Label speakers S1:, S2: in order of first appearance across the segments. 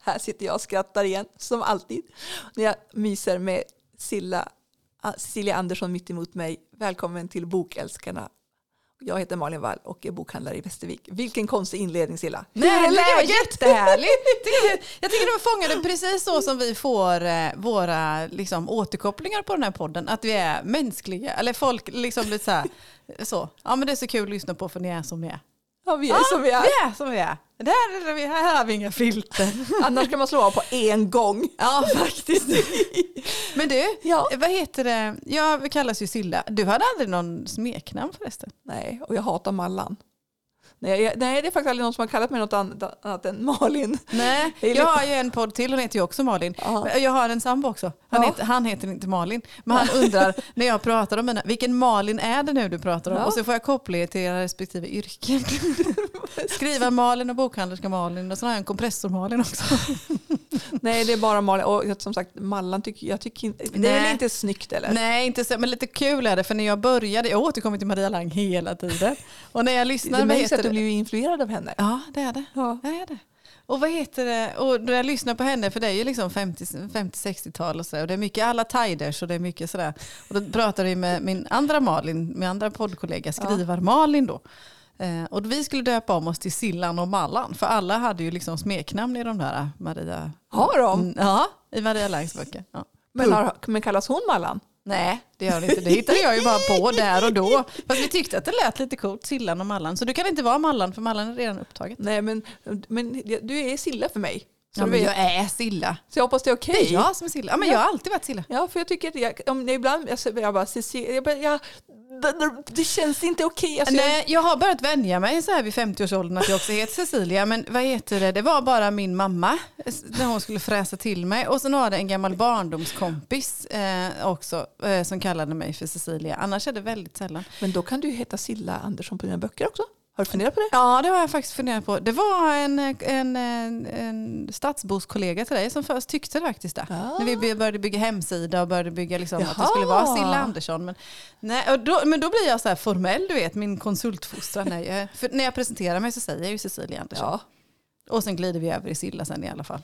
S1: Här sitter jag och skrattar igen, som alltid. När jag myser med Silla, A- Cecilia Andersson mitt emot mig. Välkommen till Bokälskarna. Jag heter Malin Wall och är bokhandlare i Västervik. Vilken konstig inledning Silla.
S2: Nej, det var jättehärligt. Tycker du- Jag tycker de fångade precis så som vi får eh, våra liksom, återkopplingar på den här podden. Att vi är mänskliga. Eller folk liksom lite så här. Så. Ja men det är så kul att lyssna på för ni är som ni är.
S1: Ja, vi är som vi är.
S2: Vi är som vi är. Det här, är vi- här har vi inga filter.
S1: Annars kan man slå av på en gång.
S2: Ja faktiskt. Men du,
S1: Ja.
S2: vad heter det? Jag kallas ju Silla. Du hade aldrig någon smeknamn förresten.
S1: Nej, och jag hatar Mallan. Nej, jag, nej, det är faktiskt aldrig någon som har kallat mig något annat, annat än Malin.
S2: Nej,
S1: Det är
S2: jag har ju en podd till, hon heter ju också Malin.
S1: Ja.
S2: Men Jag har en sambo också. Han,
S1: Ja.
S2: heter, han heter inte Malin. Men han undrar när jag pratar om mina, vilken Malin är det nu du pratar om?
S1: Ja.
S2: Och så får jag koppla er till era respektive yrken. Skriva Malin och bokhandlerska Malin och så har jag en kompressor Malin också.
S1: Nej, det är bara Malin. Och som sagt, Mallan tycker jag tycker inte... Det är
S2: Nej.
S1: väl inte snyggt eller?
S2: Nej, inte så, men lite kul är det för när jag började, jag återkommer till Maria Lang hela tiden. Och när jag
S1: Det
S2: lyssnar,
S1: är
S2: vad
S1: märks att du
S2: heter det?
S1: blir ju influerad av henne.
S2: Ja, det är det.
S1: Ja.
S2: Ja, det är det. Och vad heter det? Och när jag lyssnar på henne, för det är ju liksom 50 50-60-tal och sådär. Och det är mycket alla tiders och det är mycket sådär. Och då pratade vi med min andra Malin, min andra poddkollega, skrivar-Malin då. Eh, och vi skulle döpa om oss till Sillan och Mallan. För alla hade ju liksom smeknamn i de där Maria...
S1: Har de?
S2: Mm, ja, i Maria Langs böcker. Ja.
S1: Men, har, men kallas hon Mallan?
S2: Nej, det gör det inte. Det hittade jag ju bara på där och då. Fast vi tyckte att det lät lite coolt, Sillan och Mallan. Så du kan inte vara Mallan, för Mallan är redan upptagen.
S1: Nej, men, men du är Silla för mig. Så,
S2: Ja,
S1: du
S2: men
S1: vet.
S2: jag är Silla.
S1: så jag hoppas det är okej.
S2: Det är jag som är Silla. Ja, men jag har alltid varit Silla.
S1: Ja, för jag tycker att jag, om det ibland, jag, säger- jag bara, Cecilia, jag, bara, jag, det, det känns inte okej. Alltså, jag-
S2: Nej, Eh, jag har börjat vänja mig så här vid 50-årsåldern att jag också heter Cecilia. Men vad heter det? Det var bara min mamma s- när hon skulle fräsa till mig. Och sen har det en gammal barndomskompis eh, också eh, som kallade mig för Cecilia. Annars är det väldigt sällan.
S1: Men då kan du ju heta Silla Andersson på dina böcker också. Har du funderat på det?
S2: Ja, det har jag faktiskt funderat på. Det var en, en, en, en stadsboskollega till dig som först tyckte faktiskt det.
S1: Ah.
S2: När vi by- började bygga hemsida och började bygga liksom att det
S1: Jaha.
S2: skulle vara Silla Andersson. Men, nej, och då, men då blir jag så här formell, du vet, min konsultfostran. När jag, för när jag presenterar mig så säger jag ju Cecilia Andersson.
S1: Ja.
S2: Och sen glider vi över i Silla sen i alla fall.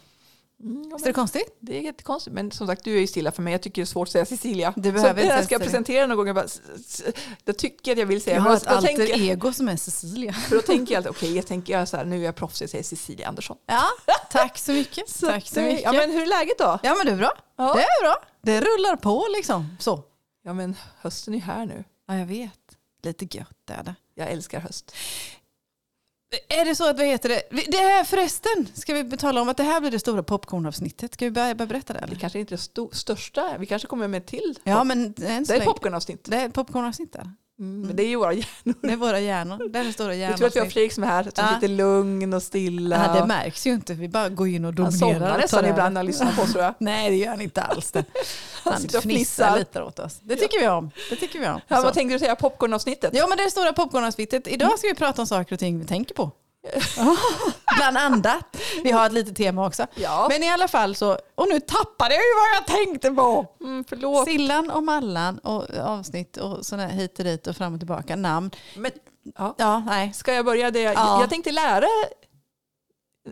S1: Mm, ja,
S2: Visst är det
S1: men,
S2: konstigt?
S1: det är jättekonstigt. Men som sagt, du är ju Silla för mig. Jag tycker det är svårt att säga Cecilia.
S2: Du behöver
S1: så
S2: inte
S1: när jag
S2: ens
S1: ska jag
S2: säga det.
S1: presentera någon gång, jag, bara, s- s- jag tycker att jag vill säga.
S2: Jag
S1: men
S2: har
S1: då-
S2: ett
S1: då tänker
S2: alter
S1: jag-
S2: ego som är Cecilia.
S1: För då tänker jag alltid, okej, jag tänker jag så här, nu är jag proffs, jag säger Cecilia Andersson.
S2: Ja, tack så mycket. tack så
S1: det-
S2: mycket.
S1: Ja, men hur är läget då?
S2: ja, men det är bra.
S1: Ja.
S2: Det är bra. Det rullar på liksom. Så.
S1: Ja, men hösten är här nu.
S2: Ja, jag vet. Lite gött är det.
S1: Jag älskar höst.
S2: Är det så att, vad heter det? Vi- Det här förresten, ska vi betala om att det här blir det stora popcornavsnittet? Ska vi börja, börja berätta det?
S1: Det
S2: Eller?
S1: kanske inte är det sto- största, vi kanske kommer med ett till.
S2: Ja, men än så
S1: det är
S2: länge.
S1: popcornavsnitt.
S2: Det är popcornavsnitt där.
S1: Mm. Men det är ju våra hjärnor.
S2: Det är våra hjärnor. Det är det stora
S1: Det är tur att vi har
S2: hjärnavsnitt.
S1: Fredrik som är här, som
S2: Ja.
S1: sitter lugn och stilla.
S2: Ja, det märks ju inte. Vi bara går in och
S1: Han
S2: dominerar. och
S1: somnar
S2: tar
S1: nästan
S2: över.
S1: ibland när han lyssnar på oss tror jag.
S2: Nej, det gör han inte alls. Det. Han,
S1: sitter och
S2: fnissar
S1: fnissar.
S2: lite åt oss. Det tycker vi om. Det tycker vi om.
S1: Ja,
S2: Så.
S1: vad tänkte du säga, popcornavsnittet?
S2: Ja, men det är det stora popcornavsnittet. Idag ska vi prata om saker och ting vi tänker på. Bland annat. Vi har ett litet tema också.
S1: Ja.
S2: Men i alla fall så, och nu tappade jag ju vad jag tänkte på.
S1: Mm, förlåt.
S2: Sillan och Mallan och avsnitt och sådana här hit och dit och fram och tillbaka namn.
S1: Men, ja.
S2: Ja, nej.
S1: Ska jag börja det?
S2: Ja.
S1: Jag tänkte lära,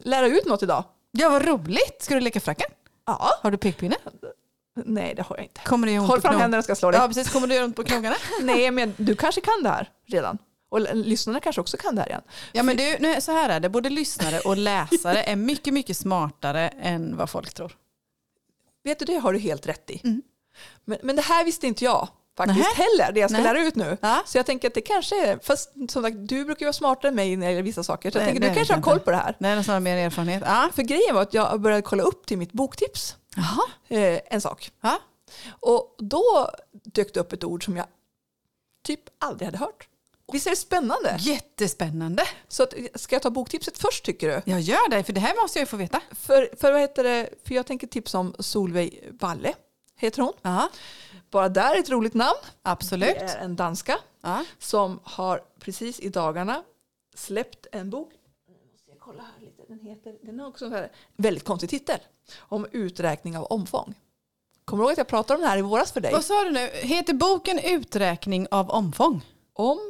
S1: lära ut något idag.
S2: Ja, vad roligt. Ska du leka fracka?
S1: Ja.
S2: Har du pekpinne?
S1: Nej, det har jag inte.
S2: Kommer det göra ont
S1: Håll
S2: på
S1: fram
S2: knogarna?
S1: händerna, jag ska slå dig.
S2: Ja, precis. Kommer det göra ont på knogarna?
S1: Nej, men du kanske kan det här redan. Och l- lyssnarna kanske också kan det här igen.
S2: Ja, men du, nu, så här är det. Både lyssnare och läsare är mycket, mycket smartare än vad folk tror.
S1: Vet du, det har du helt rätt i.
S2: Mm.
S1: Men, men det här visste inte jag faktiskt
S2: Nähä.
S1: heller, det jag ska
S2: Nej.
S1: lära ut nu.
S2: Ja.
S1: Så jag tänker att det kanske är, fast som sagt, du brukar ju vara smartare än mig när det gäller vissa saker. Så jag
S2: Nej,
S1: tänker, du
S2: det
S1: kanske har
S2: vet jag
S1: koll
S2: inte.
S1: på det här.
S2: Nej, någon sån här mer erfarenhet. Ja.
S1: För grejen var att jag började kolla upp till mitt boktips,
S2: Jaha.
S1: eh, en sak.
S2: Ja.
S1: Och då dök det upp ett ord som jag typ aldrig hade hört. Visst är det
S2: Mm.
S1: spännande?
S2: Jättespännande.
S1: Så att, ska jag ta boktipset först tycker du?
S2: Jag gör det, för det här måste jag ju få veta.
S1: För, för, vad heter det? för jag tänker tipsa om Solveig Valle, heter hon.
S2: Ja,
S1: Bara där ett roligt namn.
S2: absolut.
S1: Det är en danska
S2: Ja.
S1: som har precis i dagarna släppt en bok. Nu måste jag kolla här lite. Den heter, den har också en så här, väldigt konstig titel. Om uträkning av omfång. Kommer du ihåg att jag pratade om det här i våras för dig?
S2: Vad sa du nu? Heter boken Uträkning av omfång?
S1: Om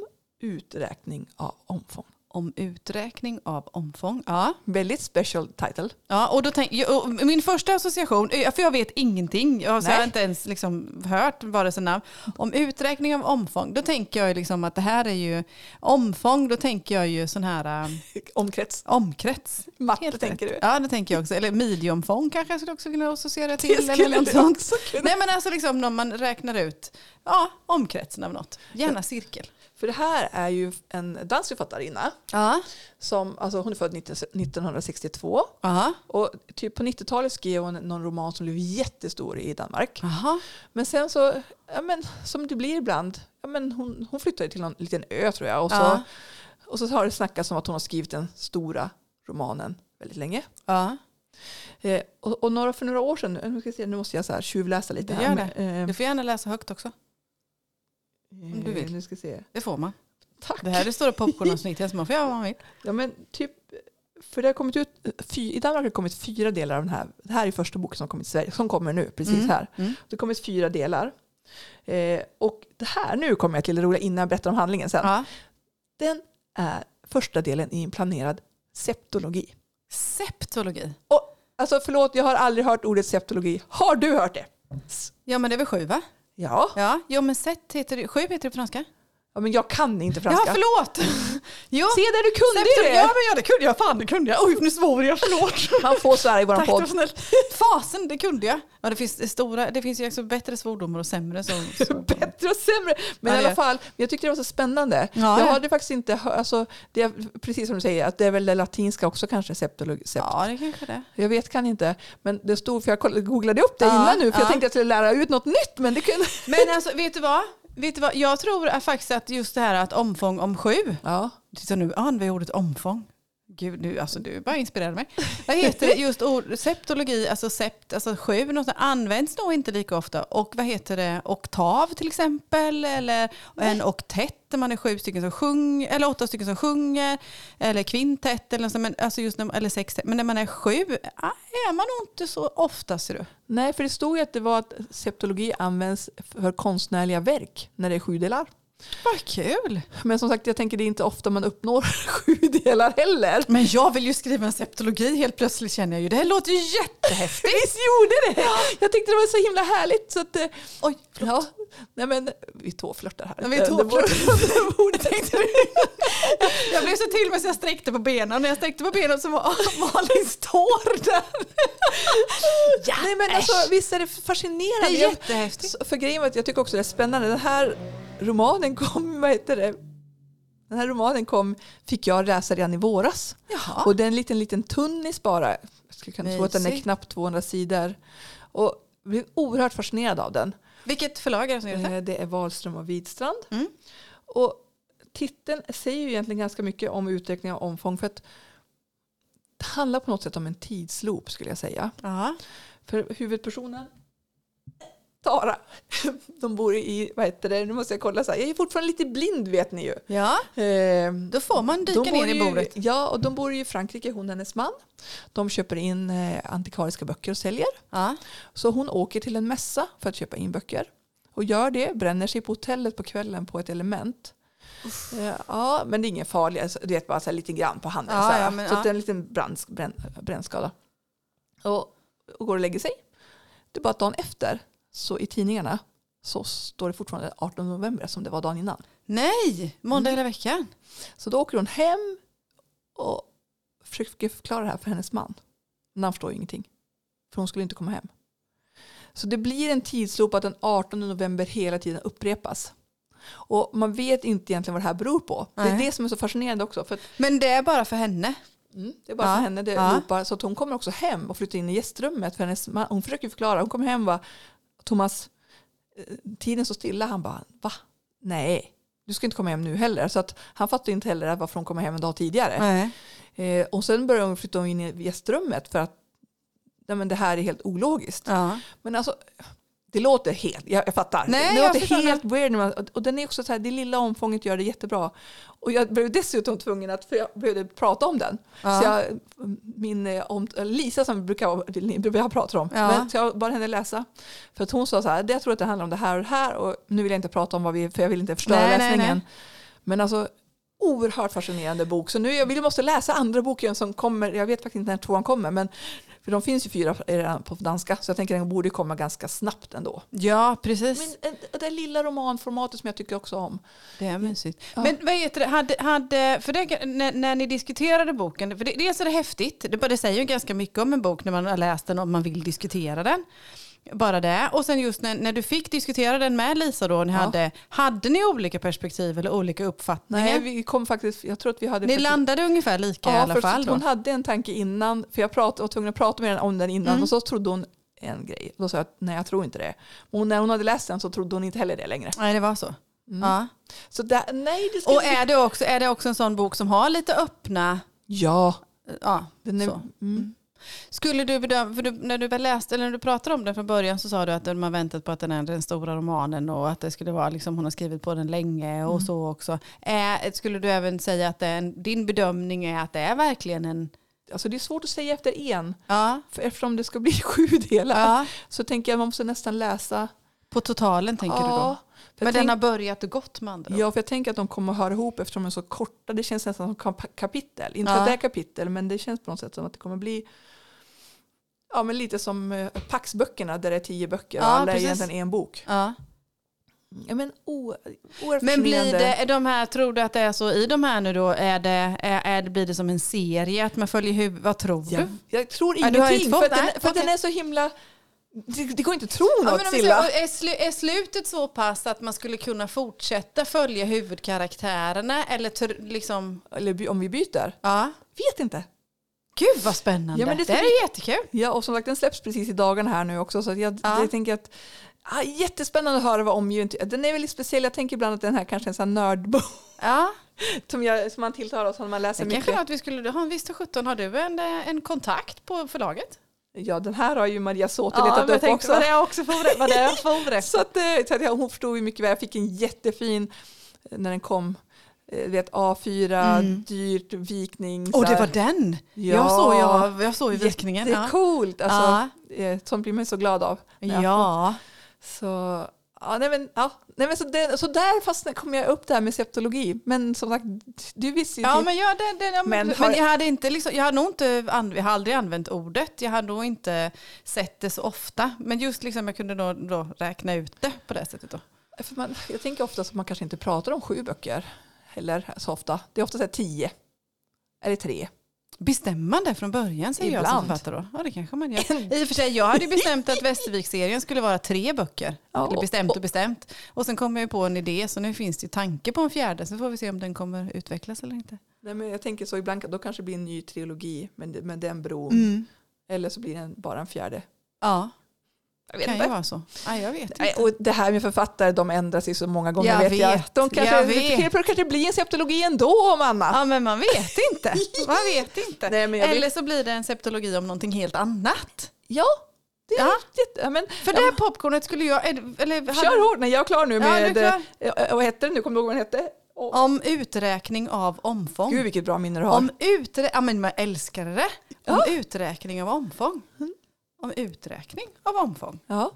S1: uträkning av omfång.
S2: om uträkning av omfång. Ja.
S1: Väldigt special title.
S2: Ja, och då tänk, jag- och min första association, eh, för jag vet ingenting, jag har, så jag har
S1: Nej.
S2: inte ens liksom hört vare sig namn. Om uträkning av omfång, då tänker jag ju liksom att det här är ju omfång, då tänker jag ju sån här eh,
S1: Omkrets.
S2: omkrets.
S1: Matte
S2: Helt
S1: tänker
S2: rätt.
S1: du.
S2: Ja, det tänker jag också. Eller midjeomfång kanske jag skulle också kunna associera till.
S1: Det
S2: eller
S1: skulle
S2: något
S1: du
S2: sånt.
S1: också kunna.
S2: Nej men alltså liksom när man räknar ut ja, omkretsen av något. Gärna cirkel.
S1: För det här är ju en dansk författarinna.
S2: Ja.
S1: Som, alltså hon är född 19- 1962.
S2: Aha.
S1: Och typ på 90-talet skrev hon någon roman som blev jättestor i Danmark.
S2: Aha.
S1: Men sen så, ja, men, som det blir ibland, ja, men hon, hon flyttade till någon liten ö tror jag. Och så,
S2: Ja.
S1: och så har det snackats om att hon har skrivit den stora romanen väldigt länge.
S2: Ja.
S1: Eh, och och några, för några år sedan, nu, ska jag se, nu måste jag så här tjuvläsa lite.
S2: Du
S1: här,
S2: gör
S1: men, eh,
S2: Du får gärna läsa högt också. om du vill.
S1: eh, Nu ska jag se.
S2: Det får man.
S1: Tack!
S2: Det här är det stora popcornavsnittet så man får göra vad man vill.
S1: Ja, men typ, för det har kommit ut, eh, fy, i Danmark har det kommit fyra delar av den här. Det här är första boken som, kommit, till Sverige, som kommer nu, precis
S2: Mm.
S1: här.
S2: Mm.
S1: Det har kommit fyra delar. Eh, och det här, nu kommer jag till det roliga innan jag berättar om handlingen sen.
S2: Ja.
S1: Den är första delen i en planerad septologi.
S2: Septologi.
S1: Och, alltså förlåt, jag har aldrig hört ordet septologi. Har du hört det?
S2: Ja men det är väl sju va?
S1: Ja,
S2: Ja, jo, men sept heter det, sju heter det på franska.
S1: ja men jag kan inte
S2: Ja
S1: franska.
S2: förlåt! Jo.
S1: Se där, du kunde
S2: septologi.
S1: ju
S2: Ja
S1: det!
S2: men ja, det kunde jag, fan det kunde jag. Oj nu svor jag, förlåt.
S1: Man får så här i våran
S2: Tack, det var
S1: podd.
S2: snällt. Fasen, det kunde jag. Ja, det, finns stora, det finns ju också bättre svordomar och sämre som- svordomar.
S1: bättre och sämre. Men
S2: Ja,
S1: i
S2: det
S1: alla
S2: är.
S1: fall, jag tyckte det var så spännande.
S2: Ja,
S1: jag
S2: ja.
S1: hade faktiskt inte hört, alltså, det är, precis som du säger, att det är väl det latinska också kanske, septolog, sept.
S2: Ja, det kanske det
S1: Jag vet kan inte, men det stod, för jag koll- googlade upp det
S2: Ja,
S1: innan nu, för
S2: ja.
S1: jag tänkte att jag skulle lära ut något nytt, men det kunde...
S2: Men alltså, vet du vad? Vet du vad? Jag tror att faktiskt att just det här att omfång om sju.
S1: Ja.
S2: Titta nu ah, använder jag ordet omfång. Gud, du, alltså, du bara inspirerade mig. Vad heter det? just ord, septologi, alltså sept, alltså sju, något sånt, används nog inte lika ofta. Och vad heter det? Oktav till exempel, eller en oktett där man är sju stycken som sjunger, eller åtta stycken som sjunger, eller kvintett eller, något sånt, men, alltså just när, eller sextett. Men när man är sju ah, är man nog inte så ofta ser du.
S1: Nej, för det stod ju att det var att septologi används för konstnärliga verk när det är sju delar.
S2: Vad kul!
S1: Men som sagt, jag tänker det är inte ofta man uppnår sju delar heller.
S2: Men jag vill ju skriva en septologi helt plötsligt känner jag ju. Det här låter ju jättehäftigt.
S1: Visst gjorde det! Jag tyckte det var så himla härligt. Så att, eh,
S2: Oj,
S1: ja, nej men, vi tåflörtar här.
S2: Ja, vi
S1: Det- det
S2: tåflörtar.
S1: borde- det borde-
S2: jag blev så till mig så jag sträckte på benen och när jag sträckte på benen så var Malins tår där. Ja,
S1: Nej, men alltså, visst är det fascinerande.
S2: Det är jättehäftigt.
S1: Jag, för grejen var att jag tycker också det är spännande. Den här romanen kom, vad heter det? Den här romanen kom, fick jag läsa redan i våras.
S2: Jaha.
S1: Och det är en liten, liten tunnis bara. Jag skulle kunna tro att den är
S2: Ah. Mysigt.
S1: knappt 200 sidor. Och jag blev oerhört fascinerad av den.
S2: Vilket förlag är det som gör det? Mm. här?
S1: Eh, Det är Wahlström och Widstrand. Och titeln säger ju egentligen ganska mycket om uträkning av omfång. För att det handlar på något sätt om en tidsloop skulle jag säga.
S2: Ja.
S1: För huvudpersonen, Tara, de bor i, vad heter det, nu måste jag kolla så här. Jag är fortfarande lite blind vet ni ju.
S2: ja,
S1: Ehm,
S2: då får man dyka
S1: bor
S2: ner i
S1: ju-
S2: bordet.
S1: Ja, och de bor ju i Frankrike, hon och hennes man. De köper in eh, antikvariska böcker och säljer.
S2: Ja.
S1: Så hon åker till en mässa för att köpa in böcker. Och gör det, bränner sig på hotellet på kvällen på ett element. Eh, Ja, men det är ingen farlig, alltså, du vet bara så här lite grann på handen.
S2: Ja,
S1: så här.
S2: ja, men
S1: så
S2: ja.
S1: att det är en liten brandsk, brän, brännskada. Och, och går och lägger sig. Det är bara att dagen efter, så i tidningarna, så står det fortfarande 18 november som det var dagen innan.
S2: Nej, måndag hela veckan.
S1: Så då åker hon hem och försöker förklara det här för hennes man. Men han förstår ju ingenting. För hon skulle inte komma hem. Så det blir en tidsloop att den 18 november hela tiden upprepas. Och man vet inte egentligen vad det här beror på. Det är
S2: Nej.
S1: det som är så fascinerande också. För att,
S2: Men det är bara för henne.
S1: mm, det är bara
S2: Ja,
S1: för henne det
S2: ja.
S1: loopar. Så att hon kommer också hem och flyttar in i gästrummet. För hennes man, hon försöker förklara. Hon kommer hem och bara, Thomas, eh, tiden står stilla. Han bara, va? Nej, du ska inte komma hem nu heller. Så att han fattar inte heller varför hon kommer hem en dag tidigare.
S2: Nej.
S1: Eh, och sen började hon flytta in i gästrummet för att nej, men det här är helt ologiskt.
S2: Ja.
S1: Men alltså, det låter helt, jag, jag fattar,
S2: Nej,
S1: det
S2: jag
S1: låter
S2: förstår
S1: helt weird. när man- Och, och den är också så här, det lilla omfånget gör det jättebra. Och jag blev dessutom tvungen att, för jag behövde prata om den.
S2: Ja.
S1: Så jag, min, eh, om, Lisa som brukar vara, det ni brukar prata om,
S2: Ja.
S1: men så jag bad henne läsa. För att hon sa så här, "Det- jag tror att det handlar om det här och det här och nu vill jag inte prata om vad vi, för jag vill inte förstöra
S2: Nej, nej,
S1: läsningen.
S2: nej.
S1: Men alltså, oerhört fascinerande bok. Så nu jag vill, måste läsa andra boken som kommer. Jag vet faktiskt inte när tvåan kommer. Men, för de finns ju fyra redan på danska. Så jag tänker den borde komma ganska snabbt ändå.
S2: Ja, precis.
S1: Men eh, det lilla romanformatet som jag tycker också om.
S2: Det är mysigt. Men vad heter det, hade, hade, för det, när, när ni diskuterade boken, för det, dels är det häftigt, det, bara- det säger ju ganska mycket om en bok när man har läst den och man vill diskutera den. Bara det. Och sen just när, när du fick diskutera den med Lisa då, ni
S1: Ja.
S2: hade, hade ni olika perspektiv eller olika uppfattningar?
S1: Nej, vi kom faktiskt, jag tror att vi hade...
S2: ni landade ungefär lika i alla
S1: för
S2: fall då?
S1: hon hade en tanke innan, för jag pratade, var tvungen att prata med henne om den innan och så trodde hon en grej. Då sa jag att nej jag tror inte det. Och när hon hade läst den så trodde hon inte heller det längre.
S2: Nej, det var så.
S1: Mm.
S2: Ja.
S1: Så där, nej det ska
S2: Och
S1: inte-
S2: är det, också, är det också en sån bok som har lite öppna...
S1: Ja,
S2: Ja,
S1: den är,
S2: så.
S1: mm.
S2: Skulle du bedöma, för du, när du väl läste, eller när du pratade om den från början så sa du att man väntat på att den är den stora romanen och att det skulle vara liksom, hon har skrivit på den länge och
S1: Mm.
S2: så också. Eh, skulle du även säga att det är en, din bedömning är att det är verkligen en...
S1: Alltså, det är svårt att säga efter en.
S2: Ja,
S1: För eftersom det ska bli sju delar
S2: ja
S1: så tänker jag man måste nästan läsa.
S2: på totalen tänker du då?
S1: ja, för
S2: Men
S1: jag
S2: den
S1: tänk,
S2: har börjat och gått med andra ord.
S1: ja, för jag tänker att de kommer att höra ihop eftersom de är så korta. Det känns nästan som kap- kapitel. Inte
S2: Ja.
S1: att det är kapitel men det känns på något sätt som att det kommer bli ja, men lite som eh, Paxböckerna där det är tio böcker och
S2: Ja,
S1: alla
S2: precis.
S1: är egentligen en bok.
S2: Ja.
S1: Ja, men o, oerhört
S2: Men blir
S1: fascinerande.
S2: det, är de här, tror du att det är så i de här nu då, är det, är, är det, blir det som en serie? Att man följer hur, vad tror
S1: Jag,
S2: du?
S1: jag tror
S2: Ja, du har
S1: ingenting.
S2: inte
S1: för att
S2: fått-
S1: den,
S2: nej,
S1: för att den
S2: okej.
S1: är så himla... Det, det går inte att tro
S2: Ja, men
S1: något
S2: om vi
S1: Silla.
S2: säger, är, slu, är slutet så pass att man skulle kunna fortsätta följa huvudkaraktärerna? Eller tr- liksom...
S1: Eller by- om vi byter.
S2: Ja.
S1: Vet inte.
S2: Gud vad spännande.
S1: Ja, men det
S2: det,
S1: ska
S2: är jättekul.
S1: Ja, och som sagt den släpps precis i dagarna här nu också. Så att jag,
S2: Ja.
S1: jag tänker att ah, jättespännande att höra vad omgivningen tycker. Den är väldigt speciell. Jag tänker ibland att den här kanske är en sån här nördbok
S2: Ja.
S1: som, jag, som man tilltar oss när man läser
S2: Det
S1: mycket.
S2: kanske var att vi skulle ha en viss till 17. Har du en, eh, en kontakt på förlaget?
S1: Ja, den här har ju Maria Sote letat upp också.
S2: vad det är också för, vad det är för det.
S1: Så att, eh, så att jag, hon förstod ju mycket väl. Jag fick en jättefin, eh, när den kom, eh, du vet A4, dyrt, vikning. så
S2: Och Mm. det
S1: här.
S2: var den!
S1: Ja.
S2: Jag såg, jag, jag såg ju vikningen.
S1: Det är
S2: Ja.
S1: coolt. Alltså, eh, Sånt blir man ju så glad av. när jag får.
S2: ja.
S1: Så, ja, nej men, ja, nej men så, det, så där fastnade, kom jag upp där med septologi. Men som sagt, du visste ju typ-
S2: Ja
S1: till-
S2: men, jag, det, det, ja, men,
S1: Men
S2: men
S1: har-
S2: jag hade inte liksom, jag hade nog inte, an, jag har aldrig använt ordet. Jag hade nog inte sett det så ofta. Men just liksom jag kunde då, då räkna ut det på det sättet då.
S1: för man, Jag tänker ofta att man kanske inte pratar om sju böcker. Eller så ofta. Det är ofta så här tio. Eller tre.
S2: Bestämmande från början säger jag som
S1: Ibland.
S2: författare då. Ja det kanske man gör. I och för sig jag hade ju bestämt att Västervik-serien skulle vara tre böcker.
S1: Ja,
S2: Eller
S1: och-
S2: bestämt och
S1: och-
S2: bestämt. Och sen kom jag ju på en idé så nu finns det ju tanke på en fjärde. Så får vi se om den kommer utvecklas eller inte.
S1: Nej, men jag tänker så ibland, då kanske det blir en ny trilogi men det- med den bron.
S2: Mm.
S1: Eller så blir det en- bara en fjärde.
S2: Ja,
S1: Jag vet
S2: kan
S1: inte.
S2: ju vara så. Ja, jag vet
S1: Nej,
S2: inte.
S1: och det här med författare, de ändrar sig så många gånger.
S2: Jag
S1: vet jag.
S2: vet,
S1: De kanske,
S2: jag vet.
S1: Det kanske blir en septologi ändå, mamma.
S2: Ja men man vet inte. Man vet inte.
S1: Nej, men jag
S2: Eller
S1: vill,
S2: så blir det en septologi om någonting helt annat.
S1: ja, det är
S2: Ja.
S1: jätte- ja, men,
S2: För det här popcornet skulle jag... är- Eller, hade-
S1: Kör hårt, nej jag är klar nu
S2: Ja,
S1: med,
S2: du är klar.
S1: eh, eh, vad hette den nu, kommer du ihåg vad den hette? Åh,
S2: Om uträkning av omfång.
S1: Gud vilket bra minne du har.
S2: Om uträ... Ja men man älskar det. Om uträkning av omfång. Om uträkning av omfång.
S1: Ja.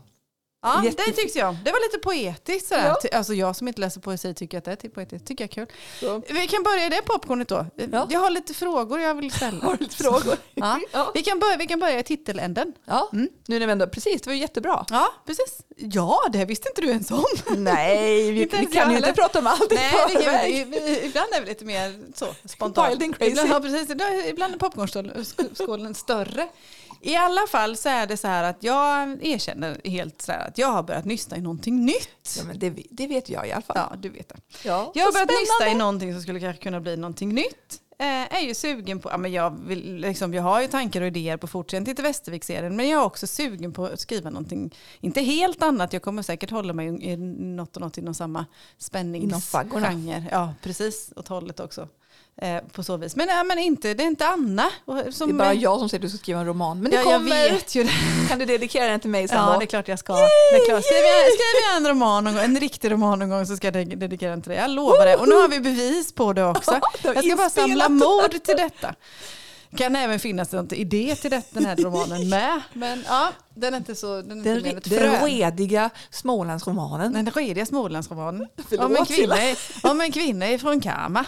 S2: Ja,
S1: Jätte-
S2: det tyckte jag om. Det var lite poetiskt sådär.
S1: Ja.
S2: Ty- Alltså jag som inte läser poesi tycker att det är till poetiskt. Tycker jag är kul.
S1: Så.
S2: Vi kan börja i det popcornet då.
S1: Ja.
S2: Jag har lite frågor jag vill ställa.
S1: Har du lite frågor?
S2: Ja.
S1: Ja.
S2: Vi kan börja, vi kan börja i titeländen.
S1: Ja. Nu när vi ändå, precis det var ju jättebra.
S2: Ja, precis. Ja, det visste inte du ens om.
S1: Nej, vi,
S2: Inte
S1: vi
S2: ens jag
S1: kan ju inte
S2: heller.
S1: prata om allt i
S2: Nej, det kan,
S1: förväg.
S2: i- i- ibland är det lite mer så spontant.
S1: Wild and crazy.
S2: Ibland, ja, precis, Ibland- ibland är popcornskålen större. I alla fall så är det så här att jag erkänner helt så här att jag har börjat nysta i någonting nytt.
S1: Ja, men det, det vet jag i alla fall.
S2: Ja, du vet det.
S1: Ja.
S2: Jag
S1: Så
S2: har börjat nysta i
S1: spännande.
S2: någonting som skulle kanske kunna bli någonting nytt. Eh, är ju sugen på, ja, men jag, vill, liksom, jag har ju tankar och idéer på fortsättning till Västervik-serien men jag är också sugen på att skriva någonting, inte helt annat, jag kommer säkert hålla mig i något och något inom samma
S1: Inom faggorna.
S2: spänningsgenre. Ja, precis, åt hållet också. Eh, på så vis. Men, nej, men inte, det är inte Anna. och- Som
S1: Det är bara jag som säger att du ska skriva en roman. Men det
S2: Ja, jag
S1: kommer.
S2: vet ju det.
S1: Kan du dedikera den till mig sen
S2: Ja,
S1: då?
S2: det är klart jag ska. Det är klart. Skriver, jag, skriver jag en roman någon gång, en riktig roman någon gång så ska jag de- dedikera den till dig. Jag lovar det. Och nu har vi bevis på det också.
S1: Det var
S2: Jag ska bara
S1: inspelat.
S2: samla mod till detta. kan även finnas något idé till det, den här romanen med. Men ja, den är inte så... Den är
S1: Den,
S2: inte mer
S1: re-
S2: ett frö.
S1: den rediga Smålandsromanen.
S2: Den rediga Smålandsromanen.
S1: Förlåt,
S2: Om en kvinna,
S1: Cilla.
S2: är- om en kvinna är från Kama.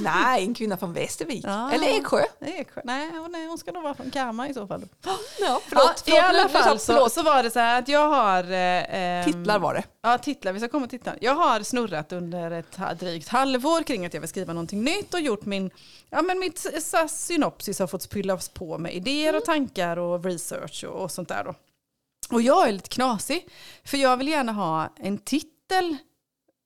S1: Nej, en kvinna från Västervik.
S2: Ja.
S1: Eller Eksjö.
S2: Nej, nej, hon är- hon ska nog vara från Kama i så fall.
S1: Ja, förlåt,
S2: ja, I
S1: förlåt,
S2: alla
S1: nu sa-
S2: fall så,
S1: förlåt.
S2: så var det så här att jag har... Eh,
S1: Titlar var det.
S2: Ja, titlar. Vi ska komma och titta. Jag har snurrat under ett ha- drygt halvår kring att jag vill skriva någonting nytt och gjort min... Ja, men mitt s- s- synopsis har fått fyllas på med idéer och tankar och research och, och sånt där då. Och jag är lite knasig, för jag vill gärna ha en titel.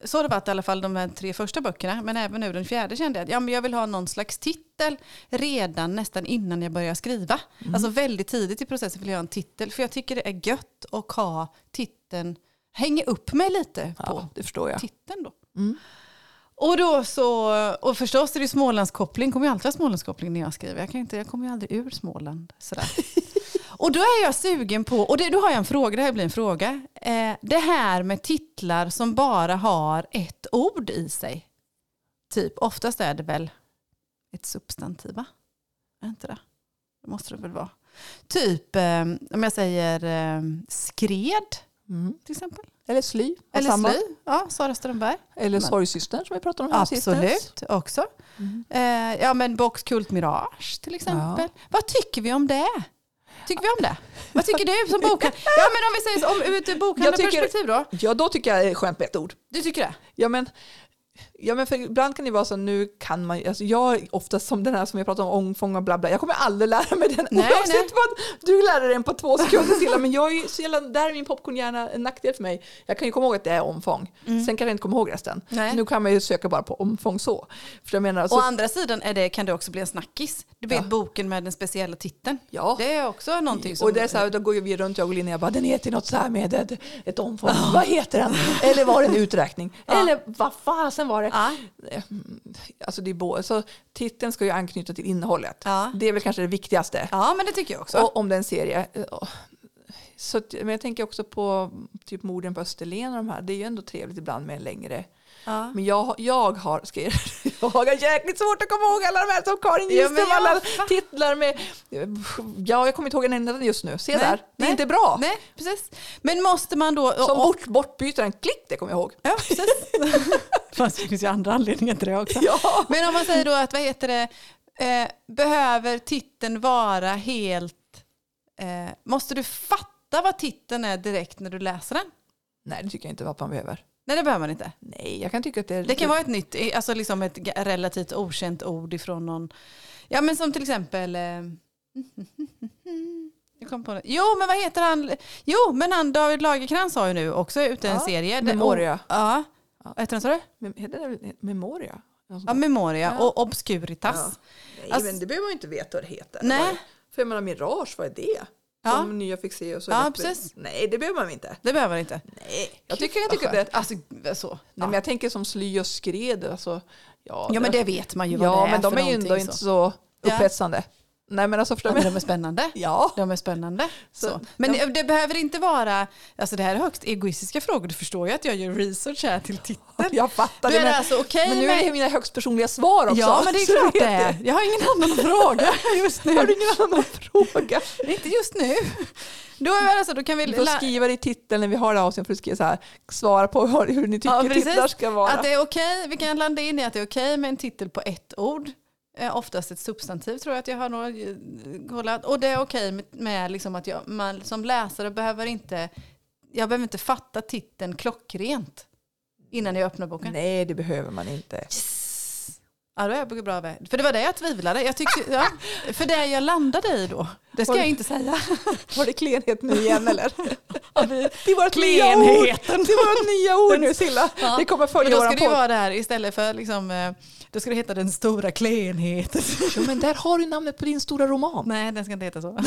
S2: Så har det varit i alla fall de här tre första böckerna, men även nu den fjärde kände jag att ja, men jag vill ha någon slags titel redan nästan innan jag börjar skriva. Alltså väldigt tidigt i processen vill jag ha en titel, för jag tycker det är gött att ha titeln, hänga upp mig lite på
S1: Ja, det förstår jag.
S2: titeln då. Och då så, och förstås är det ju Smålandskoppling, kommer ju alltid ha Smålandskoppling när jag skriver. Jag, kan inte, jag kommer ju aldrig ur Småland. Sådär. och då är jag sugen på, och det, då har jag en fråga, det här blir en fråga. Eh, det här med titlar som bara har ett ord i sig. Typ, oftast är det väl ett substantiv va? Är det inte det? Det måste det väl vara. Typ, eh, om jag säger eh, skred
S1: Mm.
S2: till exempel.
S1: Eller Sly. var
S2: Eller
S1: samma.
S2: sly. Ja, Sara Strömberg.
S1: Eller
S2: Men-
S1: Sorgsystern som vi pratade om häromsistens.
S2: Absolut, också.
S1: Mm.
S2: Eh, ja, men Box Kult Mirage till exempel. Vad tycker vi om det? Tycker vi om det? Vad tycker du som bokhandlare? Ja, men om vi säger så, om, ur ett bokhandlarperspektiv då?
S1: Ja, då tycker jag det är skönt med ett ord.
S2: Du tycker det?
S1: Ja, men, ja, men för ibland kan det vara så nu kan man alltså jag är ofta som den här som jag pratar om, ångfång och bla bla. Jag kommer aldrig lära mig den
S2: Nej,
S1: oavsett
S2: nej.
S1: vad. Du lärde dig den på två sekunder Silla, men jag är ju så jävla, där är min popcornhjärna en nackdel för mig. Jag kan ju komma ihåg att det är omfång. Sen kan jag inte komma ihåg resten.
S2: Mm. Nej.
S1: Nu kan man ju söka bara på omfång så. För jag menar,
S2: Å
S1: så
S2: andra sidan är det, kan det också bli en snackis. Du vet
S1: Ja.
S2: boken med den speciella titeln.
S1: Ja.
S2: Det är också någonting som...
S1: och det är så här, då går ju vi runt, jag och Linnea, bara, den heter ju något så här med ett, ett omfång. Vad heter den? Eller var det en uträkning? Eller vad fasen var det?
S2: Ja.
S1: Eh, Alltså det är både, så titeln ska ju anknyta till innehållet.
S2: Ja.
S1: Det är väl kanske det viktigaste.
S2: ja, men det tycker jag också.
S1: Och om det är en serie. eh, Så, att- men jag tänker också på typ morden på Österlen och de här. Det är ju ändå trevligt ibland med en längre.
S2: ja.
S1: Men jag, jag har, ska jag, jag har jäkligt svårt att komma ihåg alla de här som Karin
S2: Ja, men
S1: Gidström,
S2: jag
S1: alla
S2: fattar.
S1: titlar med. Ja, jag kommer inte ihåg en enda just nu. Se
S2: Nej,
S1: där, det är
S2: nej,
S1: inte bra.
S2: Nej, precis. Men måste man då...
S1: Som bort, bortbytaren, klick det kommer jag ihåg.
S2: Ja, precis. Fast det finns ju andra anledningar till det också.
S1: Ja.
S2: Men om man säger då att vad heter det, eh, behöver titeln vara helt... Eh, måste du fatta vad titeln är direkt när du läser den?
S1: Nej, det tycker jag inte att man behöver.
S2: Nej, det behöver man inte.
S1: Nej, jag kan tycka att det är
S2: Det kan vara ett nytt, eh, alltså liksom ett ga- relativt okänt ord ifrån någon. Ja, men som till exempel... Eh, jag kom på det. Jo, men vad heter han? Jo, men han David Lagercrantz har ju nu också ute en
S1: Ja,
S2: serie. Det-
S1: Memoria.
S2: Ja. Vad heter den, sa du?
S1: Mem- Heter det Memoria?
S2: Ja, Memoria och Obscuritas.
S1: Nej,
S2: Alltså-
S1: men det behöver man inte veta vad det heter.
S2: Nej.
S1: Vad är det? För jag menar, Mirage, vad är det?
S2: Ja.
S1: Som nya fick se och så
S2: Ja,
S1: lätt-
S2: precis.
S1: Nej, det behöver man inte.
S2: Det behöver man inte.
S1: Nej. Jag tycker, jag
S2: Vad
S1: tycker att det
S2: skönt. Alltså, så.
S1: Nej, men jag tänker som sly och skred. Alltså, ja,
S2: Ja men det vet man ju vad
S1: ja,
S2: det är
S1: men de
S2: för
S1: är ju ändå
S2: någonting
S1: inte
S2: så.
S1: så
S2: Ja.
S1: upphetsande. Nej, men alltså
S2: Ja,
S1: förstår
S2: men
S1: du?
S2: de är spännande.
S1: Ja,
S2: De är spännande.
S1: Så-
S2: Så. Men det, det behöver inte vara, alltså det här är högst egoistiska frågor, du förstår ju att jag gör research här till titeln.
S1: jag fattar.
S2: Då
S1: det,
S2: är det
S1: men-
S2: alltså okej
S1: men nu är det
S2: med-
S1: mina högst personliga svar också.
S2: Ja men det är
S1: Så
S2: klart
S1: vet
S2: det är. Jag har ingen annan fråga just
S1: jag. Har du
S2: nu.
S1: ingen annan fråga?
S2: Inte just nu. Då, är det alltså, då kan vi
S1: Du får
S2: la-
S1: skriva det i titeln när vi har det här avsnittet. får du skriva så här, svara på hur, hur ni tycker
S2: precis.
S1: titlar ska vara.
S2: Att det är okej, vi kan landa in i att det är okej med en titel på ett ord. Eh, oftast ett substantiv tror jag att jag har nog eh, kollat. Och det är okej med, med liksom att jag, man som läsare behöver inte, jag behöver inte fatta titeln klockrent innan jag öppnar boken.
S1: Nej, det behöver man inte.
S2: Yes. Ja, då är jag på bra väg. För det var det jag tvivlade. Jag tyckte, ja, för det jag landade i då, det ska
S1: Oj.
S2: jag inte säga.
S1: Var det klenhet nu igen eller? Det var ett nya ord.
S2: Klenheten.
S1: Det var ett nya ord nu Silla.
S2: Ja.
S1: Det kommer
S2: Men
S1: följa
S2: då
S1: våran
S2: ska det ju
S1: podd.
S2: vara det här istället för liksom, eh, då ska det heta den stora klenheten.
S1: Jo, men där har du namnet på din stora roman.
S2: Nej, den ska inte heta så.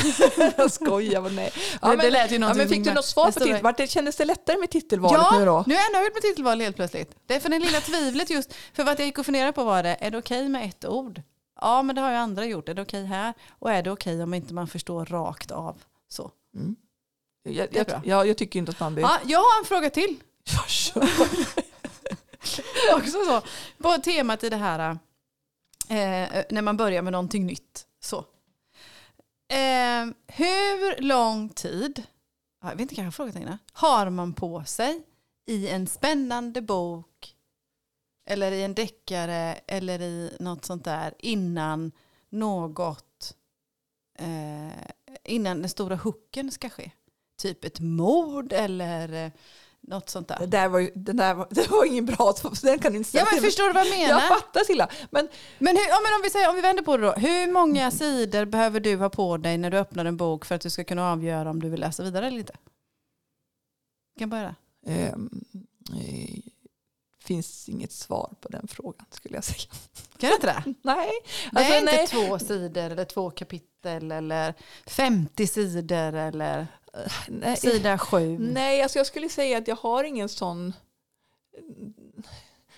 S1: Jag skojar, men nej. Ja,
S2: Det-
S1: men,
S2: det lät ju
S1: ja,
S2: någonting
S1: men fick
S2: som-
S1: du något svar
S2: det
S1: på
S2: står-
S1: titel? Vart det, kändes det lättare med titelvalet nu då?
S2: är jag nöjd med titelvalet helt plötsligt. Det är för det lilla tvivlet just. För vad jag gick och funderade på var det, är det okej med ett ord? Ja, men det har ju andra gjort. Är det okej här? Och är det okej om inte man förstår rakt av? Så.
S1: Mm. Jag,
S2: det är
S1: jag,
S2: bra.
S1: jag, jag tycker inte att man blir...
S2: Ja, jag har en fråga till.
S1: Jag kör.
S2: Också så. eh, På temat i det här, eh, när man börjar med någonting nytt. Så. Eh, hur lång tid, ja, jag vet inte, kanske jag har frågat innan, har man på sig i en spännande bok eller i en deckare eller i något sånt där innan något, eh, innan den stora hooken ska ske? Typ ett mord eller eh, något sånt
S1: Det
S2: där.
S1: där var, ju- den där var, det var ingen bra, så den kan du inte säga
S2: Ja men
S1: till mig.
S2: förstår du vad jag menar?
S1: Jag fattar Silla. Men
S2: Men, hur, ja, men om, vi säger, om vi vänder på det då. Hur många sidor behöver du ha på dig när du öppnar en bok för att du ska kunna avgöra om du vill läsa vidare eller inte? Du kan börja.
S1: ehm, eh, finns inget svar på den frågan skulle jag säga.
S2: Kan du inte det?
S1: Nej,
S2: Det
S1: alltså,
S2: är inte
S1: nej.
S2: två sidor eller två kapitel eller 50 sidor eller
S1: nej.
S2: sida sju.
S1: Nej, alltså jag skulle säga att jag har ingen sån...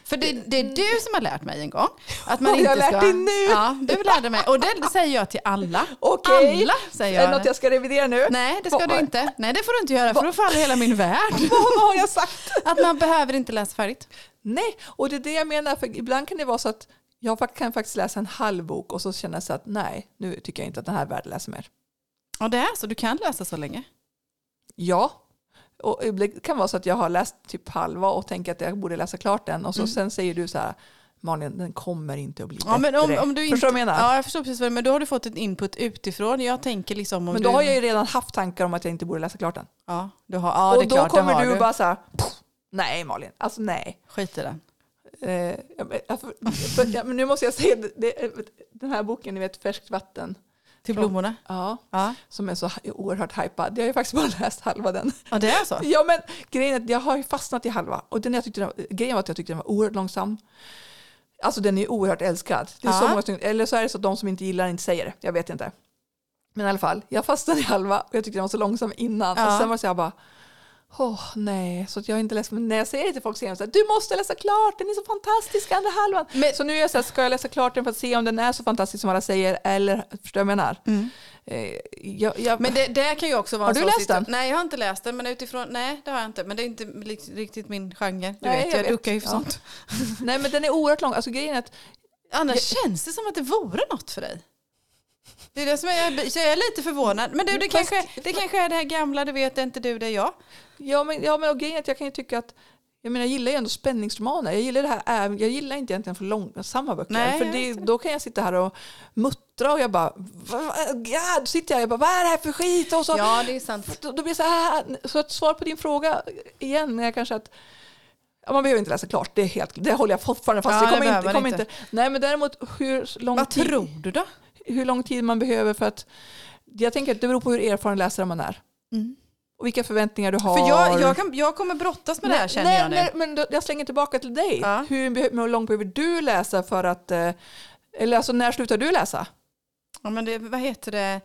S2: För det, det är du som har lärt mig en gång. Att man
S1: Har
S2: inte
S1: jag
S2: ska,
S1: lärt dig nu?
S2: Ja, du lärde mig. Och det säger jag till alla.
S1: Okej,
S2: Alla säger
S1: är det
S2: jag.
S1: något jag ska revidera nu?
S2: Nej, det ska du inte. Nej, det får du inte göra för då faller hela min värld.
S1: Vad har jag sagt?
S2: Att man behöver inte läsa färdigt.
S1: Nej, och det är det jag menar. För ibland kan det vara så att jag fak- kan faktiskt läsa en halv bok och så känna så att nej, nu tycker jag inte att den här är värd att läsa mer.
S2: Ja, det är så. Du kan läsa så länge.
S1: Ja, och det kan vara så att jag har läst typ halva och tänker att jag borde läsa klart den och så sen säger du så här Malin, den kommer inte att bli
S2: Mm. Ja, men om,
S1: bättre.
S2: om du inte,
S1: Förstår du vad jag menar?
S2: Ja, jag förstår precis vad du menar. Men då har du fått ett input utifrån. Jag tänker liksom om
S1: men då
S2: du...
S1: har jag ju redan haft tankar om att jag inte borde läsa klart den.
S2: Ja, du har, ja det
S1: och
S2: är
S1: då
S2: klart, det
S1: kommer
S2: har
S1: du bara så här, "Pff, nej Malin, alltså nej.
S2: Skit i den.
S1: Eh, ja, men- ja, för, för, ja, men nu måste jag säga, det, det, den här boken, ni vet Färskt vatten,
S2: Till
S1: Från-
S2: blommorna.
S1: ja,
S2: Ja.
S1: som är så hy- oerhört hypad. Jag har ju faktiskt bara läst halva den.
S2: ja, det är så.
S1: Ja men grejen är att jag har ju fastnat i halva. Och den jag tyckte, den- grejen var att jag tyckte den var oerhört långsam. Alltså den är ju oerhört älskad. Det är så
S2: Ja.
S1: många, som- eller så är det så att de som inte gillar den inte säger det. Jag vet inte. Men i alla fall, jag fastnade i halva och jag tyckte den var så långsam innan.
S2: Ja.
S1: Och sen var det så jag bara, åh nej. Så att jag har inte läst, men när jag säger det till folk säger de så här, du måste läsa klart, den är så fantastisk andra halvan.
S2: Men-
S1: så nu är jag så här, ska jag läsa klart den för att se om den är så fantastisk som alla säger? Eller, förstår du vad jag menar?
S2: Mm.
S1: Eh, jag, jag,
S2: Men det, det kan ju också vara
S1: Har
S2: en
S1: du
S2: sån
S1: läst
S2: situation-
S1: den?
S2: Nej, jag har inte läst den. Men utifrån, nej, det har jag inte. Men det är inte li- riktigt min genre. Du
S1: Nej,
S2: vet,
S1: jag
S2: jag,
S1: vet.
S2: duckar ju för
S1: Ja.
S2: sånt.
S1: nej men den är oerhört lång. Alltså grejen är att
S2: Annars känns det som att det vore något för dig. Det är det som jag, så jag är lite förvånad. Men du, det,
S1: Fast-
S2: kanske, det kanske är det här gamla, du vet, det är inte du, det är jag.
S1: Ja men, ja, men och grejen är att jag kan ju tycka att jag, menar, jag gillar ju ändå spänningsromaner. Jag gillar, det här, även- jag gillar inte egentligen för långsamma böcker.
S2: Nej,
S1: för
S2: jag
S1: det,
S2: vet det.
S1: då kan jag sitta här och muttra och jag bara, "Va- va- ja, då sitter jag och jag bara, vad är det här för skit? Och så,
S2: Ja, det är sant.
S1: då, då blir det så här, så ett svar på din fråga igen är kanske att ja, man behöver inte läsa klart, det, är helt, det håller jag fortfarande fast
S2: Ja,
S1: vid.
S2: det
S1: kommer
S2: behöver
S1: inte,
S2: man
S1: kommer
S2: inte.
S1: inte. Nej men däremot hur lång,
S2: Vad
S1: tid,
S2: tror du då?
S1: hur lång tid man behöver för att, jag tänker att det beror på hur erfaren läsare man är. Och vilka förväntningar du har.
S2: För jag, jag, kan, jag kommer brottas med det här
S1: Nej,
S2: känner
S1: nej,
S2: jag nu.
S1: nej, men då, jag slänger tillbaka till dig.
S2: Ja.
S1: Hur, be- hur långt behöver du läsa för att... eh, Eller alltså, när slutar du läsa?
S2: Ja, men det, vad heter det?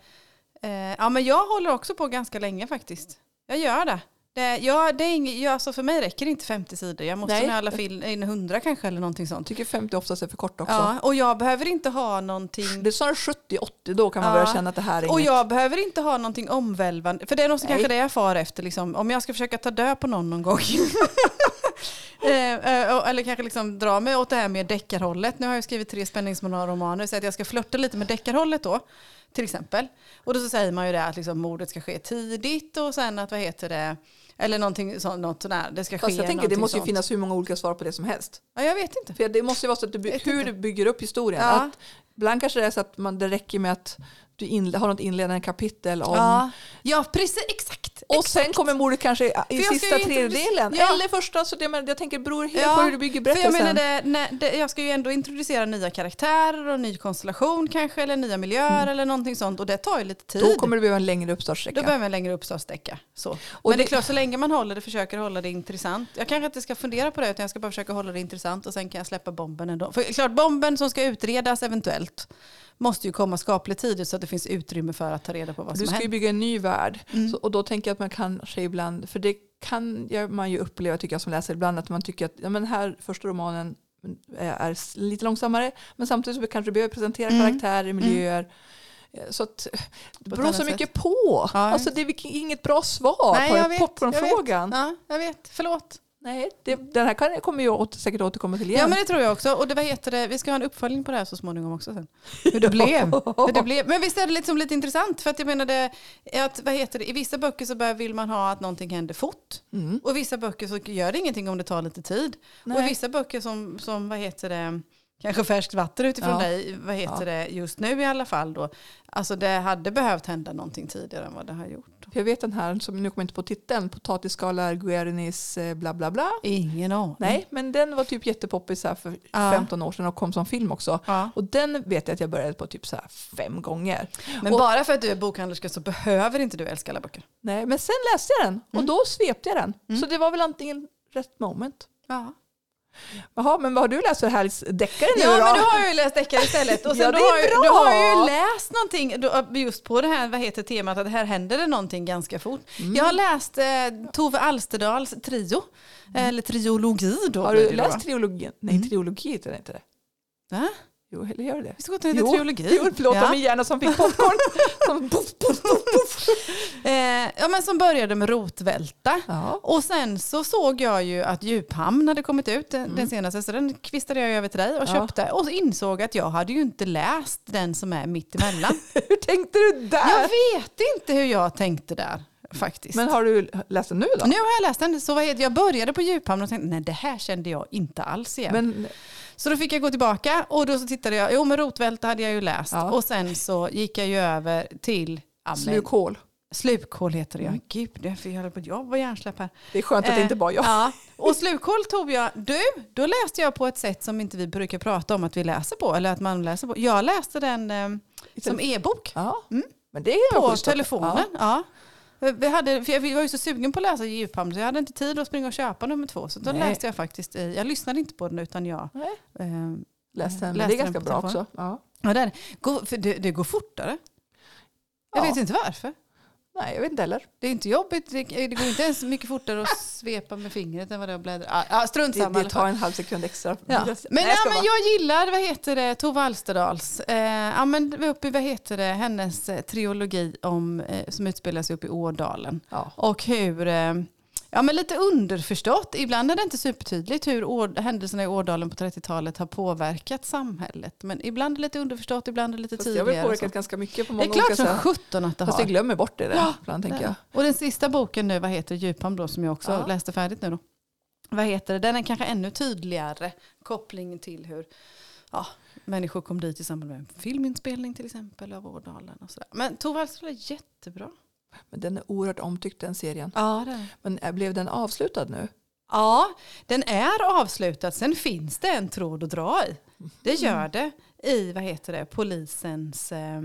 S2: Eh, ja, men jag håller också på ganska länge faktiskt. Jag gör det. det, jag, det är ing, jag, alltså för mig räcker inte 50 sidor. Jag måste
S1: Nej.
S2: nog i alla fall in 100 kanske eller någonting sånt.
S1: Jag tycker 50 oftast är för kort också.
S2: Ja, och jag behöver inte ha någonting
S1: Det är snarare 70-80, då kan man
S2: Ja.
S1: börja känna att det här är
S2: Och
S1: inget.
S2: jag behöver inte ha någonting omvälvande. För det är nog så
S1: Nej.
S2: kanske det jag far efter. Liksom. Om jag ska försöka ta död på någon någon gång. Eh, eh, och- Eller kanske liksom dra mig åt det här med deckarhållet. Nu har jag skrivit tre spänningsromaner så att jag ska flörta lite med deckarhållet då. Till exempel. Och då så säger man ju det att liksom, mordet ska ske tidigt och sen att vad heter det. Eller någonting sånt. Något sånt där. Det ska
S1: Fast
S2: ske
S1: jag tänker det
S2: någonting
S1: måste ju
S2: sånt.
S1: finnas hur många olika svar på det som helst.
S2: Ja, jag vet inte.
S1: För det måste ju vara så att du, by-
S2: vet
S1: hur du
S2: inte.
S1: bygger upp historien.
S2: Ja.
S1: Att ibland kanske det är så att man, det räcker med att du inle- har något inledande kapitel om...
S2: Ja. ja, precis. Exakt.
S1: Och sen kommer mordet kanske i- i
S2: jag ska
S1: sista
S2: ju introducera-
S1: tredjedelen.
S2: Ja.
S1: Eller första, så det, men jag tänker det beror helt
S2: Ja,
S1: på hur du bygger
S2: För jag
S1: berättelsen.
S2: menar det, när, det, jag ska ju ändå introducera nya karaktärer och ny konstellation kanske eller nya miljöer eller någonting sånt och det tar ju lite tid.
S1: Mm. Då
S2: Då,
S1: kommer det behöva en längre uppstartssträcka.
S2: behöver man en längre uppstartsdecka. Så.
S1: Och
S2: Men det är
S1: det-
S2: klart, så länge man håller det, försöker hålla det intressant. Jag kanske inte ska fundera på det utan jag ska bara försöka hålla det intressant och sen kan jag släppa bomben ändå. För klart, bomben som ska utredas eventuellt måste ju komma skapligt tidigt så att det finns utrymme för att ta reda på vad
S1: Du
S2: som
S1: ska
S2: har
S1: ju
S2: hänt. Mm.
S1: bygga en ny värld. Så, och då tänker jag att man kanske ibland, för det kan jag- man ju uppleva tycker jag som läsare ibland, att man tycker att ja, men här första romanen eh, är s- lite långsammare, men samtidigt så kanske du behöver presentera karaktärer, miljöer. Eh, Så att, det
S2: Mm. ett
S1: beror så
S2: annat
S1: mycket på.
S2: Ja.
S1: alltså, det är vilk- inget bra svar
S2: Nej,
S1: på
S2: jag vet, jag vet.
S1: popcornfrågan.
S2: Ja, jag vet. Förlåt.
S1: Nej, det, den här kan- kommer jag åter, säkert återkomma till igen.
S2: Ja men det tror jag också. Och det, vad heter det? Vi ska ha en uppföljning på det här så småningom också sen. Hur det blev. Hur det blev. Men visst är det liksom lite intressant för att jag menade att vad heter det? i vissa böcker så bör, vill man ha att någonting händer fort.
S1: Mm.
S2: Och i vissa böcker så gör det ingenting om det tar lite tid. Och i vissa böcker som, som vad heter det, kanske färskt vatten utifrån
S1: Ja.
S2: dig, vad heter det, just nu i alla fall då. Alltså det hade behövt hända någonting tidigare än vad det har gjort.
S1: Jag vet den här, som, nu kommer jag inte på titeln, potatisskalar Guerinis eh, bla bla bla.
S2: Ingen aning.
S1: Nej, men den var typ jättepoppis här för
S2: Mm. Ja.
S1: 15 år sedan och kom som film också.
S2: Ja.
S1: Och den vet jag att jag började på typ så här fem gånger.
S2: Men
S1: Och-
S2: bara för att du är bokhandlerska så behöver inte du älska alla böcker.
S1: Nej, men sen läste jag den och
S2: Mm.
S1: då svepte jag den. Så det var väl antingen rätt moment.
S2: Ja.
S1: Jaha, men vad har du läst för härlig deckare nu
S2: Ja,
S1: då?
S2: men du har jag ju läst deckare istället. Och sen
S1: Ja,
S2: du,
S1: det är
S2: har ju,
S1: bra.
S2: du har ju läst någonting då, just på det här vad heter temat att här händer det någonting ganska fort.
S1: Mm.
S2: Jag har läst eh, Tove Alsterdals trio, eller triologi då.
S1: Mm. Har
S2: blir
S1: du
S2: det ju då, Mm.
S1: läst
S2: va?
S1: triologin? Nej, triologi heter det inte det.
S2: Va?
S1: Jo, eller gör det det
S2: Visst går det inte triologi?
S1: Jo, förlåt, det var
S2: ja.
S1: min hjärna som fick popcorn. som puff, puff, puff, puff.
S2: Eh, ja, men som började med rotvälta.
S1: Ja.
S2: Och sen så såg jag ju att Djuphamn hade kommit ut eh, den senaste, så den kvistade jag över till dig och
S1: Mm. Ja.
S2: köpte. Och så insåg att jag hade ju inte läst den som är mitt emellan.
S1: Hur tänkte du
S2: jag
S1: där?
S2: vet inte hur jag tänkte där faktiskt.
S1: Men har du läst den nu då?
S2: Nu har jag läst den, så vad heter, jag började på Djuphamn och tänkte nej det här kände jag inte alls igen.
S1: Men,
S2: så då fick jag gå tillbaka och då så tittade jag, jo men rotvälta hade jag ju läst.
S1: Ja.
S2: Och sen så gick jag ju över till ja, men-
S1: slukhål.
S2: Slukhål heter det, ja. Mm. Gud, det fick jag hålla på att jag var hjärnsläpp här.
S1: Det är skönt att det
S2: Eh,
S1: inte bara jag.
S2: Ja. Och slukhål tog jag, du, då läste jag på ett sätt som inte vi brukar prata om att vi läser på, eller att man läser på. Jag läste den eh, som e-bok
S1: Ja. Men det är
S2: på
S1: schysst att-
S2: telefonen. Ja. Vi hade, för jag var ju så sugen på att läsa djuphamn så jag hade inte tid att springa och köpa nummer två. Så då
S1: Nej.
S2: läste jag faktiskt, i- jag lyssnade inte på den utan jag
S1: Nej.
S2: eh,
S1: Läst den.
S2: Läste
S1: det är
S2: den
S1: ganska
S2: på
S1: bra
S2: telefonen.
S1: också. Ja.
S2: Ja, där. Gå, för det, det går fortare. Jag
S1: Ja.
S2: vet inte varför.
S1: Nej, jag vet inte heller.
S2: Det är inte jobbigt. Det, det går inte ens mycket fortare att svepa med fingret än vad det är att bläddra. Ah, ah, strunt
S1: Det,
S2: samma. i
S1: det
S2: alla fall.
S1: tar en halv sekund extra.
S2: Ja.
S1: Nej,
S2: Men,
S1: jag
S2: ja,
S1: ska
S2: men
S1: bara-
S2: jag gillar, vad heter det, Tove Alsterdals. Eh, ja, men det var uppe i, vad heter det, hennes eh, trilogi om, eh, som utspelar sig uppe i Ådalen.
S1: Ja.
S2: Och hur, eh, ja men lite underförstått, ibland är det inte supertydligt hur år, händelserna i Ådalen på 30-talet har påverkat samhället. Men ibland är det lite underförstått, ibland är det lite
S1: Fast det har väl
S2: tydligare. och så.
S1: påverkat ganska mycket på
S2: Det
S1: många
S2: är klart
S1: olika
S2: som
S1: sätt.
S2: sjutton att det
S1: Fast vi
S2: har.
S1: glömmer bort det där
S2: Ja,
S1: ibland tänker jag.
S2: Och den sista boken nu, vad heter Djuphamn då, som jag också
S1: Ja.
S2: läste färdigt nu då. Vad heter det? Den är kanske ännu tydligare kopplingen till hur ja, människor kom dit i samband med en filminspelning till exempel av Ådalen och sådär. Men Tove Alsterdal är jättebra.
S1: Men den är oerhört omtyckt den serien.
S2: Ja, det är.
S1: Men eh, blev den avslutad nu?
S2: Ja, den är avslutad. Sen finns det en tråd att dra i. Det gör det i vad heter det, polisens eh,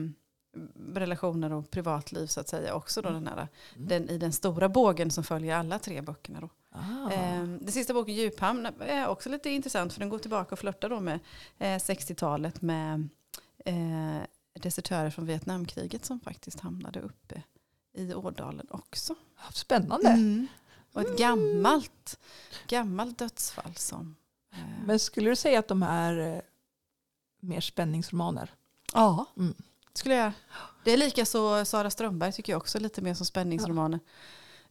S2: relationer och privatliv så att säga också. Då, den här, den, I den stora bågen som följer alla tre böckerna. Då.
S1: Ah.
S2: Eh, den sista boken, Djuphamn, är också lite intressant för den går tillbaka och flörtar då med eh, 60-talet med eh, desertörer från Vietnamkriget som faktiskt hamnade uppe i Ådalen också.
S1: Spännande.
S2: Och ett gammalt, gammalt dödsfall som... eh,
S1: Men skulle du säga att de är eh, mer spänningsromaner?
S2: ja,
S1: Mm.
S2: skulle jag. Det är lika så Sara Strömberg tycker jag också, lite mer som spänningsromaner.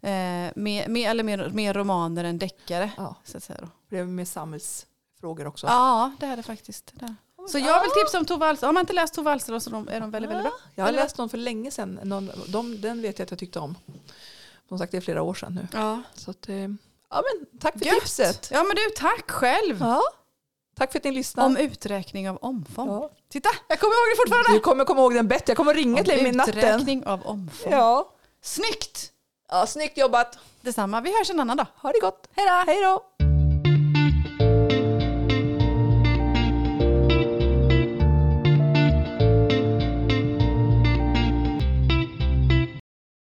S2: Eh, mer, mer, eller mer, mer romaner än deckare.
S1: Ja.
S2: Så att säga då.
S1: För det är med samhällsfrågor också. Ah.
S2: Ja, det är det faktiskt. Det är. det. Så jag vill tipsa om Tove Alsterdal. Har man inte läst Tove Alsterdal så de, är de väldigt, väldigt bra.
S1: Jag har
S2: Eller-
S1: läst någon för länge sedan. Någon, de, den vet jag att jag tyckte om. Som sagt, det är flera år sedan nu.
S2: Ja.
S1: Så att, eh, ja, men tack för
S2: Gött.
S1: tipset.
S2: ja, men du, tack själv.
S1: Ja. Tack för att ni lyssnade.
S2: Om uträkning av omfång.
S1: Ja.
S2: Titta, jag kommer ihåg det fortfarande.
S1: Du kommer komma ihåg den bättre. Jag kommer ringa till dig
S2: Om
S1: med natten.
S2: uträkning av omfång.
S1: Ja.
S2: Snyggt!
S1: ja, snyggt jobbat.
S2: Detsamma, vi hörs en annan dag.
S1: Ha det gott. Hej då. Hej då.